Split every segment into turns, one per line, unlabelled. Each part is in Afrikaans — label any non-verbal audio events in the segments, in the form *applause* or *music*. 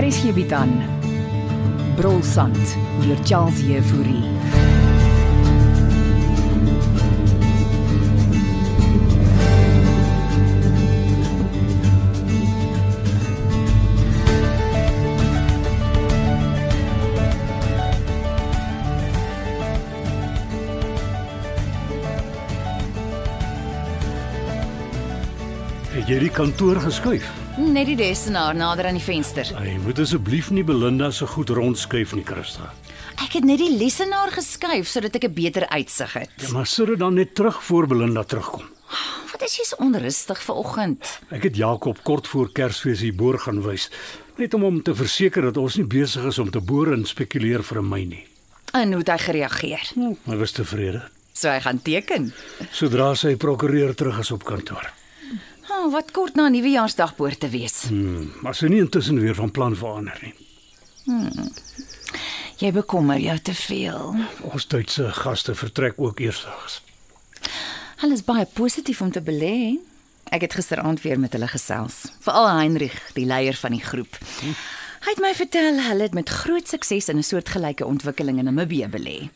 Hier is hierby dan. Brolsand deur Charles Jefouri.
Het jy die kantoor geskuif?
Net die resenaar nader aan die venster.
Jy moet asseblief nie Belinda se goed rondskuif nie, Christa.
Ek het net die lesenaar geskuif sodat ek 'n beter uitsig het.
Ja, maar sit dit dan net terug voor Belinda terugkom.
Wat is jy so onrustig vanoggend?
Ek het Jakob kort voor Kersfees hier boor gaan wys, net om hom te verseker dat ons nie besig is om te boor en spekuleer vir 'n my nie.
En hoe het hy gereageer?
Hy was tevrede.
So hy gaan teken.
Sodra sy prokureur terug is op kantoor.
Oh, wat kort na Nuwejaarsdag behoort te wees.
Hmm, maar sy nie intussen weer van plan verander nie.
Jy bekommer jou te veel.
Ons Duitse gaste vertrek ook eersdags.
Hulle is baie positief om te belê. hè? Ek het gisteraand weer met hulle gesels, veral Heinrich, die leier van die groep. Hy het my vertel hulle het met groot sukses in 'n soortgelyke ontwikkeling in Namibië belê.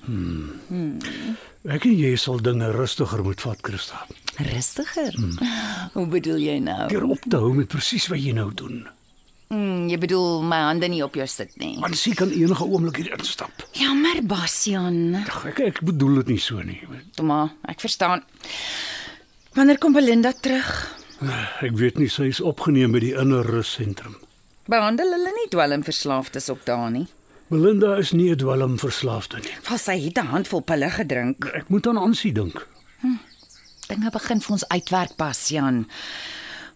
Ek en jy sal dinge rustiger moet vat, Christa.
Rustiger. Hoe bedoel jy nou?
Deur op te hou met presies wat jy nou doen.
Mm, jy bedoel my hande nie op jou sit nie.
Want sy kan enige oomblik hier instap.
Jammer, Bastian.
Ag, ek ek bedoel dit nie so nie.
Toma, ek verstaan. Wanneer kom Belinda terug?
Ek weet nie sy is opgeneem by die inner rus sentrum.
Behandel hulle nie dwelmverslaafdes op daar nie.
Belinda is nie 'n dwelmverslaafde nie.
Was sy het 'n handvol pille gedrink.
Ek moet aan Ansie dink.
Dinge begin vir ons uitwerk, Bastian.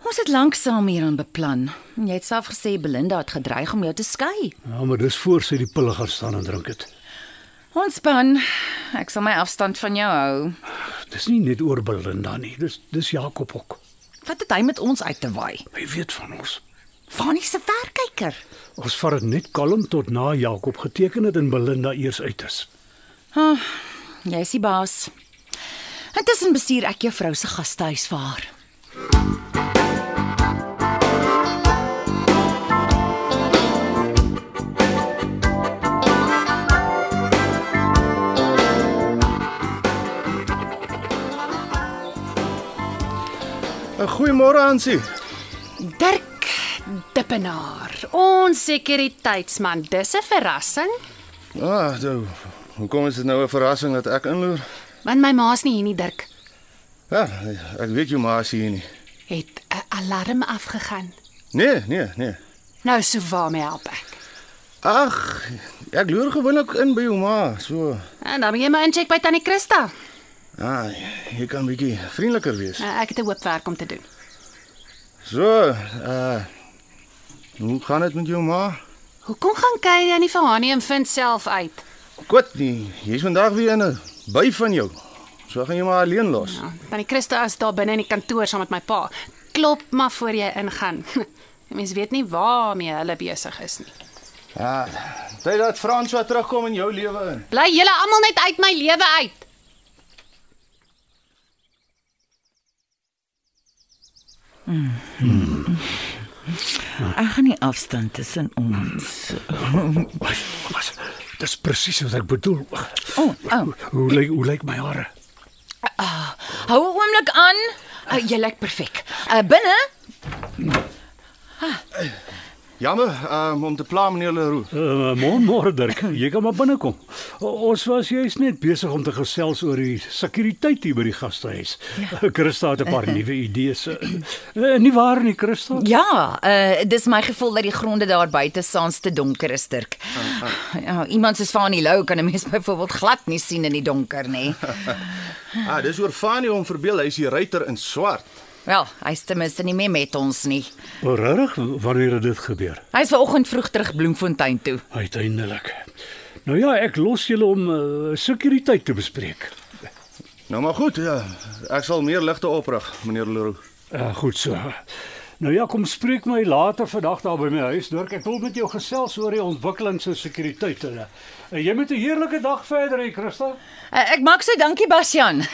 Ons het lank saam hieraan beplan. Jy het self gesê Belinda het gedreig om jou te skei.
Ja, maar dis voor sy die pille gaan staan en drink het.
Ontspan. Ek sal my afstand van jou hou.
Dis nie net oor Belinda nie. Dis dis Jakob ook.
Wat het hy met ons uit te waai?
Hy weet van ons.
Fanie se verkyker.
Ons vat dit net kalm tot na Jakob geteken het en Belinda eers uit is.
Ah, jy is die baas. Intussen bestuur ek juffrou se gastehuis vir haar.
Eh, Goeiemôre Ansie.
Dirk Dippenaar, ons sekuriteitsman. Dis 'n verrassing,
Ah, nou, hoekom is dit nou 'n verrassing dat ek inloer?
want my ma's nie hier nie, Dirk.
Ja, ek weet jou ma is hier nie.
Het 'n alarm afgegaan.
Nee, nee, nee.
Nou sou waarmee help ek?
Ag, ek loer gewoonlik in by jou ma, so.
En dan moet jy my incheck by tannie Christa.
Ah, jy kan bietjie vriendeliker wees.
Nou, Ek het 'n hoop werk om te doen.
So, uh Hoe gaan dit met jou ma?
Hoekom gaan kyk jy nie vir Hanie en vind self uit?
Kwat nie. Jy's vandag weer in 'n by van jou. So gaan jy maar alleen los.
Nou, tannie Christa is daar binne in die kantoor saam met my pa. Klop maar voor jy ingaan. *laughs* Mense weet nie waarmee hulle besig is nie.
Ja. Dit dat Frans wat terugkom in jou lewe in.
Bly julle almal net uit my lewe uit.
Ek gaan nie afstand tussen ons.
Was, was, dis presies wat ek bedoel.
O, oh, ou. Oh.
Hoe lyk hoe lyk my hare?
Hou 'n oomblik aan. Uh, jy lyk perfek. Uh, binne?
Jammer, um, om te pla meneer Leroux.
Uh, môre môre Dirk, jy kan maar binnekom. O- Ons was juis net besig om te gesels oor die sekuriteit hier by die gastehuis. Ja. Christa het 'n paar nuwe idees. Uh, nie waar nie, Christa?
Ja, uh dis my gevoel dat die gronde daar buite saans te donker is, Dirk. Ja, iemand soos Fanie Lou kan 'n mens byvoorbeeld glad nie sien in die donker nie.
Ah, dis oor Fanie om verbeel hy's die ruiter in swart.
Wel, hy's ten minste nie meer met ons nie.
O, Regtig, wanneer het dit gebeur?
Hy's vanoggend vroeg terug Bloemfontein toe.
Uiteindelik. Nou ja, ek los julle om uh, sekuriteit te bespreek.
Nou maar goed, ja. Ek sal meer ligte oprig, meneer Leroux.
Uh, Eh, goed so. Nou ja, kom spreek my later vandag daar by my huis, Dirk. Ek wil met jou gesels oor die ontwikkeling se sekuriteit. En, eh, Jy moet 'n heerlike dag verder hê, Christa.
Eh, Ek maak so dankie Basjan.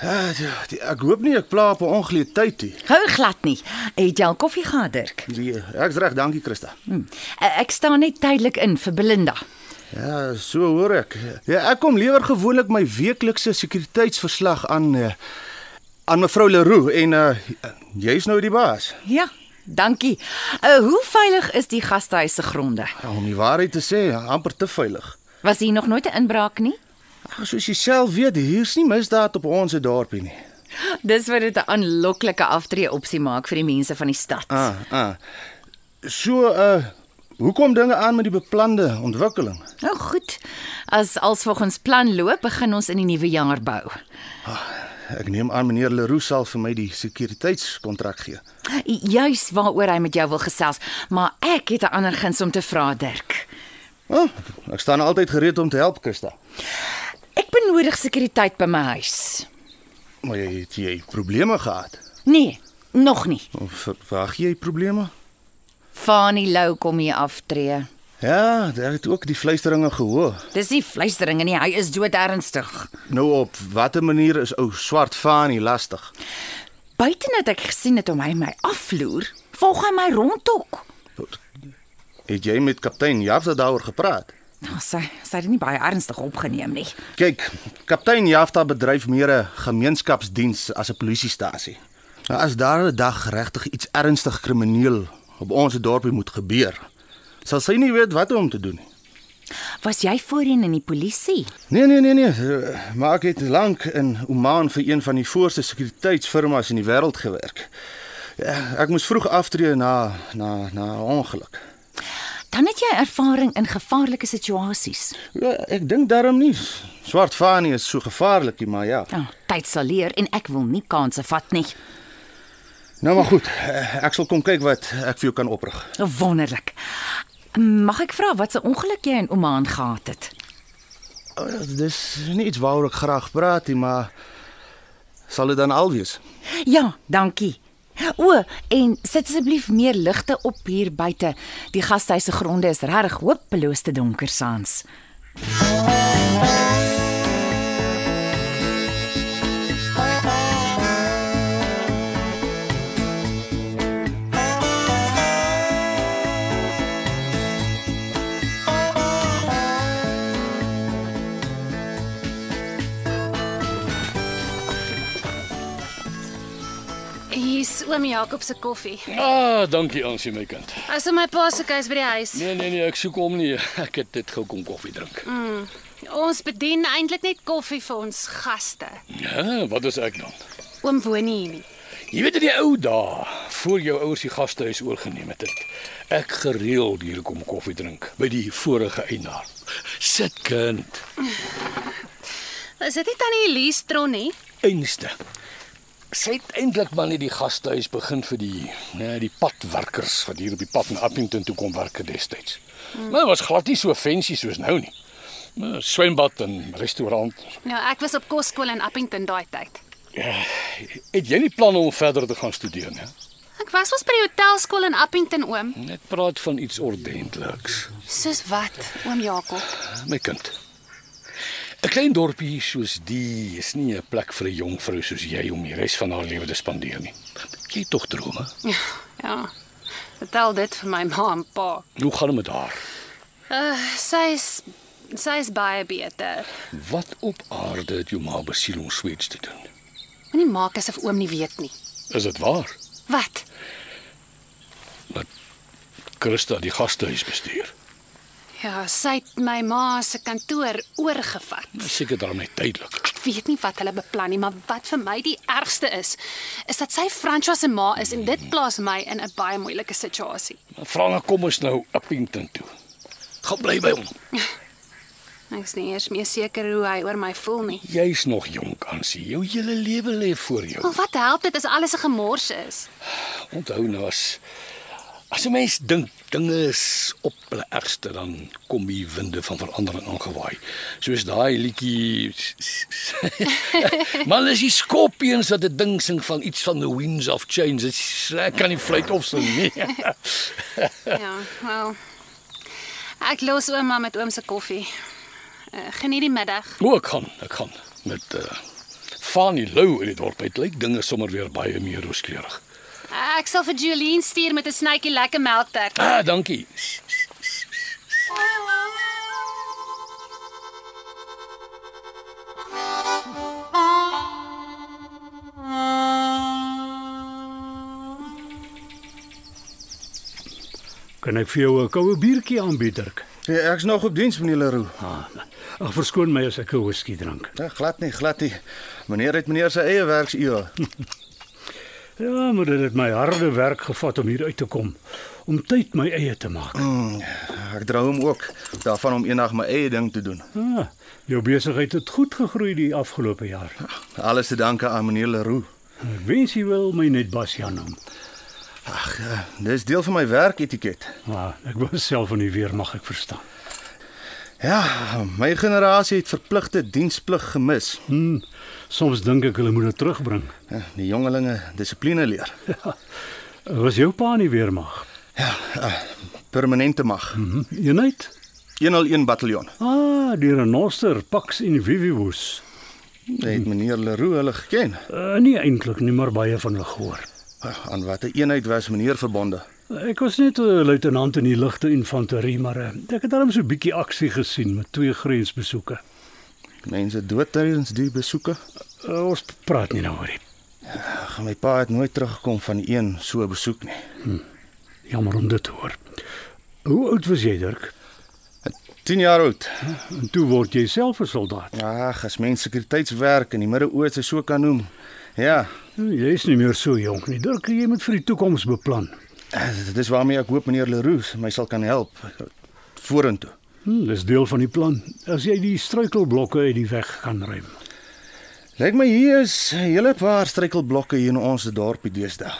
Ja, die- die- Ek hoop nie ek pla op 'n ongeleentheid nie.
Gou glad nie. Het jy al koffie gehad, Dirk?
Nee, ek's reg, dankie Christa.
Hm. Eh, Ek staan net tydelik in vir Belinda.
Ja, so hoor ek. Ja, ek kom lewer gewoonlik my weeklikse sekuriteitsverslag aan eh, aan mevrou Leroux en uh, jy's nou die baas.
Ja, dankie. Uh, hoe veilig is die gastehuis se gronde?
Ja, om die waarheid te sê, amper te veilig.
Was hier nog nooit 'n inbraak nie?
Ag, soos jy self weet, hier's nie misdaad op ons dorpie nie.
Dis wat dit 'n aanloklike aftreë opsie maak vir die mense van die stad.
Ah, ah. So uh hoekom dinge aan met die beplande ontwikkeling?
Nou goed. As als volgens plan loop, begin ons in die nuwe jaar bou.
Ek neem aan meneer Leroux sal vir my die sekuriteitskontrak gee.
Juis waaroor hy met jou wil gesels, maar ek het 'n ander guns om te vra, Dirk.
Oh, ek staan altyd gereed om te help, Christa.
Ek benodig sekuriteit by my huis.
Maar jy het jy probleme gehad.
Nee, nog nie.
Of Verwag jy probleme?
Fani Lou kom hier aftree.
Ja, daar het ook die fluisteringe gehoor.
Dis nie fluisteringe nie, hy is dood ernstig.
Nou op watter manier is ou swart Fanie lastig?
Buite net ek gesien het hom hy my afloer, volg hy my rondtok.
Het jy met kaptein Jafta daaroor gepraat?
Nou sy, sy het dit nie baie ernstig opgeneem nie.
Kyk, kaptein Jafta bedryf meer 'n gemeenskapsdiens as 'n polisiestasie. Nou as daar 'n dag regtig iets ernstig krimineel op ons dorpie moet gebeur, sal sy nie weet wat om te doen nie.
Was jy voorheen in die polisie?
Nee nee nee nee, eh, maar ek het lank in Oman vir een van die voorste sekuriteitsfirmas in die wêreld gewerk. Ja, ek moes vroeg aftree na na na 'n ongeluk.
Dan het jy ervaring in gevaarlike situasies.
Ja, ek dink daarom nie. Swart Fanie is so gevaarlik, nie, maar ja.
Ja, oh, tyd sal leer en ek wil nie kansse vat nie.
Nou maar goed, eh, ek sal kom kyk wat ek vir jou kan oprig.
Wonderlik. Mag ek vra wat se ongeluk jy in Oman gehad het?
Oh, dis nie iets waaroor ek graag praat nie, maar sal dit dan al wees?
Ja, dankie. O, en sit asseblief meer ligte op hier buite. Die gastehuis se gronde is regtig hopeloos te donker saans.
Hier's oom Jakob se koffie.
Ah, dankie Ansie my kind.
As in my pa se huis by die huis.
Nee nee nee, ek soek hom nie. *laughs* Ek het dit gou kom koffie drink.
Ons bedien eintlik net koffie vir ons gaste.
Ja, wat is ek dan?
Oom woon nie hier nie.
Jy weet in die ou dae, voor jou ouers die gastehuis oorgeneem het, het ek gereeld hier kom koffie drink by die vorige eienaar. Sit kind,
Is dit nie tannie Elise Tron nie?
einste. Sy het eintlik maar net die gastehuis begin vir die nee, die padwerkers wat hier op die pad in Appington toe kom werk het destyds. Maar dit was glad nie so fancy soos nou nie. Maar Swembad en restaurant
Nou, ek was op kosskool in Appington daai tyd.
Het jy nie planne om verder te gaan studeer nie?
Ek was ons by die hotelskool in Appington oom.
Ek praat van iets ordentliks,
Soos wat, oom Jakob?
my kind. 'n Klein dorpie soos die is nie 'n plek vir 'n jong vrou soos jy om die res van haar lewe te spandeer nie. Jy het tog drome.
Ja. Vertel dit vir my ma en pa.
Hoe gaan dit met haar?
Uh, sy's sy's baie beter.
Wat op aarde het jou ma besiel om sweets te doen?
Moenie maak asof oom nie weet nie.
Is dit waar?
Wat?
Christa die gastehuis bestuur.
Ja, sy het my ma se kantoor oorgevat.
Seker daarmee tydelik.
Ek weet nie wat hulle beplan nie, maar wat vir my die ergste is, is dat sy François se ma is en dit plaas my in 'n baie moeilike situasie.
Vra na kom ons nou Appington toe. Gaan bly by hom.
Ek is nie eers meer seker hoe hy oor my voel nie.
Jy's nog jonk, Ansie. Jou hele lewe lê voor jou.
Maar wat help dit as alles 'n gemors is?
Onthou nou as as 'n mens dink dinge is op hulle ergste dan kom die winde van verandering aangewaai. Soos daai liedjie *laughs* Man, is die skorpions wat 'n ding sing van iets van the winds of change. Dit's- Ek kan nie fluit of sing nie. *laughs*
Ja, wel. Ek los ouma met oom se koffie. Uh, geniet die middag.
O, ek gaan, ek gaan met uh Fanny Lou in die dorp uit. Lyk dinge sommer weer baie meer rooskleurig.
Ek sal vir Jolene stuur met 'n snytjie lekker melktert.
Ah, dankie.
Kan ek vir jou 'n koue biertjie aanbied, Dirk?
Ja, ek's nog op diens, meneer Leroux.
Ah, ag verskoon my as ek 'n whisky drink.
Ja, glad nie, glad nie. Meneer het meneer se eie werksure.
Ja, maar dit het my harde werk gevat om hier uit te kom, om tyd my eie te maak.
Ek drou hom ook daarvan om eendag my eie ding te doen.
Ah, jou besigheid het goed gegroei die afgelope jaar.
Alles te danke aan meneer Leroux.
Ek wens jy wil my net Basjan noem.
Ag, eh, dis deel van my werketiket.
Maar ek was self van die weer mag ek verstaan.
Ja, my generasie het verpligte diensplig gemis.
Hm, soms dink ek hulle moet dit terugbring.
Ja, Die jongelinge dissipline leer.
Was jou pa nie weer mag?
Permanente mag.
Hm, eenheid?
101 bataljon.
Ah, die renoster, Pax en Vivivus.
Het meneer Leroux hulle geken.
Uh, nie eintlik nie, maar baie van hulle gehoor.
Aan watter eenheid was meneer verbonde?
Ek was net 'n luitenant in die ligte infanterie, maar eh, ek het darem so 'n bietjie aksie gesien met twee grensbesoeke.
Mense dood tydens die besoeke.
Uh, ons praat nie nou oor dit.
Ag, my pa het nooit teruggekom van een so 'n besoek nie.
Jammer om dit te hoor. Hoe oud was jy, Dirk?
10 jaar oud.
En toe word jy self 'n soldaat.
Ag, as mens sekuriteitswerk in die Midde-Ooste so kan noem. Ja,
Hm, Jy is nie meer so jonk nie. Dirk, jy moet vir die toekoms beplan.
dis waarmee ek hoop meneer Leroux my sal kan help vorentoe.
Hm, dis deel van die plan. As jy die struikelblokke uit die weg kan ruim.
Lyk my hier is 'n hele paar struikelblokke hier in ons dorpie deesdae.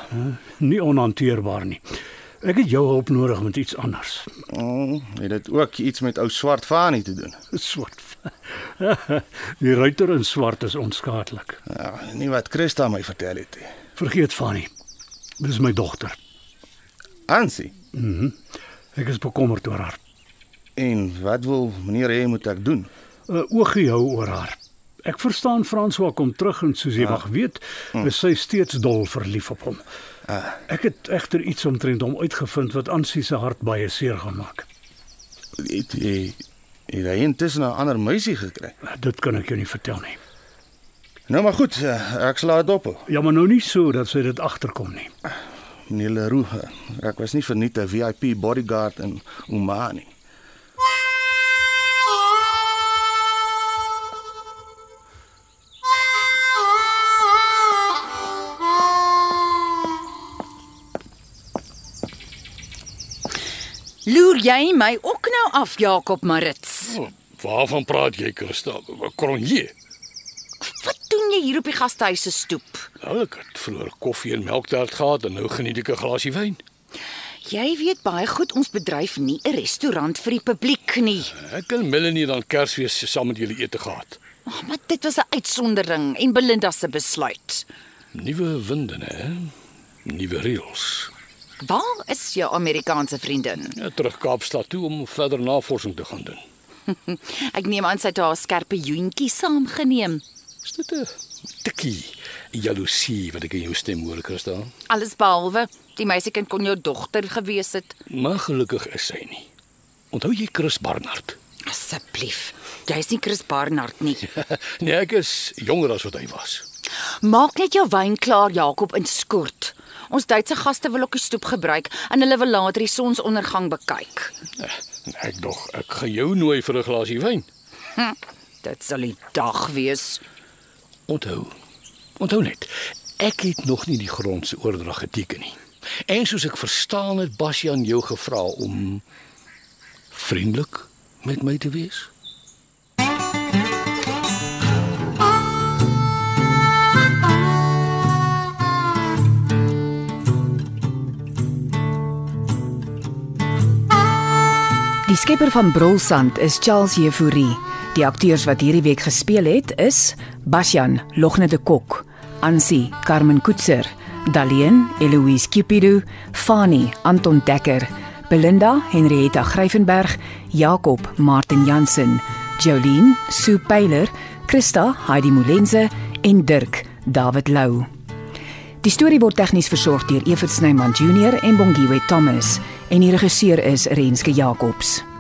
Nie onhanteerbaar nie. Ek het jou hulp nodig met iets anders. *laughs*
Oh, het dit ook iets met ou swart Fanie te doen?
Swart. *laughs* die ruiter in swart is onskadelik.
Ja, nie wat Christa my vertel het nie.
Vergeet van nie. Dis my dogter.
Ansie,
Ek is bekommerd oor haar.
en wat wil meneer hê moet ek doen?
'n Oogie hou oor haar. Ek verstaan François kom terug en soos jy mag weet, is sy steeds dol verlief op hom. Ek het egter iets omtrent hom uitgevind wat Ansie se hart baie seer gemaak.
Het jy het hy intussen 'n ander meisie gekry?
Dit kan ek jou nie vertel nie.
Nou maar goed, eh, ek sla dit op. hoor.
Ja, maar nou nie so dat sy dit agterkom nie.
Meneer Leroux, eh, ek was nie verniet 'n VIP bodyguard in Omani.
Loer jy my ook nou af, Jakob Marits?
O, Waarvan praat jy, Christa? Kronje.
Wat doen jy hier op die gastehuis se stoep?
Nou ek het vroeër koffie en melktert gehad en nou geniet ek 'n glasie wyn.
Jy weet baie goed ons bedryf nie 'n restaurant vir die publiek nie.
Ek en Melanie dan Kersfees saam met julle ete gehad.
Oh, maar dit was 'n uitsondering en Belinda se besluit.
Nuwe winde, hè? Nuwe reëls.
Waar is jou Amerikaanse vriendin?
Ja, terug Kaapstad toe om verder navorsing te gaan doen.
Ek neem aan sy het haar skerpe joentjie saamgeneem.
Is dit 'n tikkie jaloesie wat ek in jou stem hoor, Christa?
Alles behalwe die meisiekind kon jou dogter gewees het.
Maar gelukkig is sy nie. Onthou jy Chris Barnard?
Asseblief. Jy's nie Chris Barnard nie.
*laughs* nee, ek is jonger as wat hy was.
Maak net jou wyn klaar, Jakob, in skort. Ons Duitse gaste wil ook die stoep gebruik en hulle wil later die sonsondergang bekyk.
Eh, Ek dog ek gaan jou nooi vir 'n glasie wyn.
Dit sal die dag wees.
Onthou. Onthou net. Ek het nog nie die grond se oordrag geteken nie. En soos ek verstaan het Basjan jou gevra om vriendelik met my te wees.
Die skepper van Brolsand is Charles Jefouri. Die akteurs wat hierdie week gespeel het is Basjan Logne de Kok, Ansie Carmen Koetser, Daleen Eloise Cupido, Fani Anton Dekker, Belinda Henrietta Gryvenberg, Jakob Martin Jansen, Jolien Sue Pyler, Christa Heidi Molenze en Dirk David Lou. Die storie word tegnies versorg deur Evert Snyman Junior en Bongwe Thomas en die regisseur is Renske Jacobs.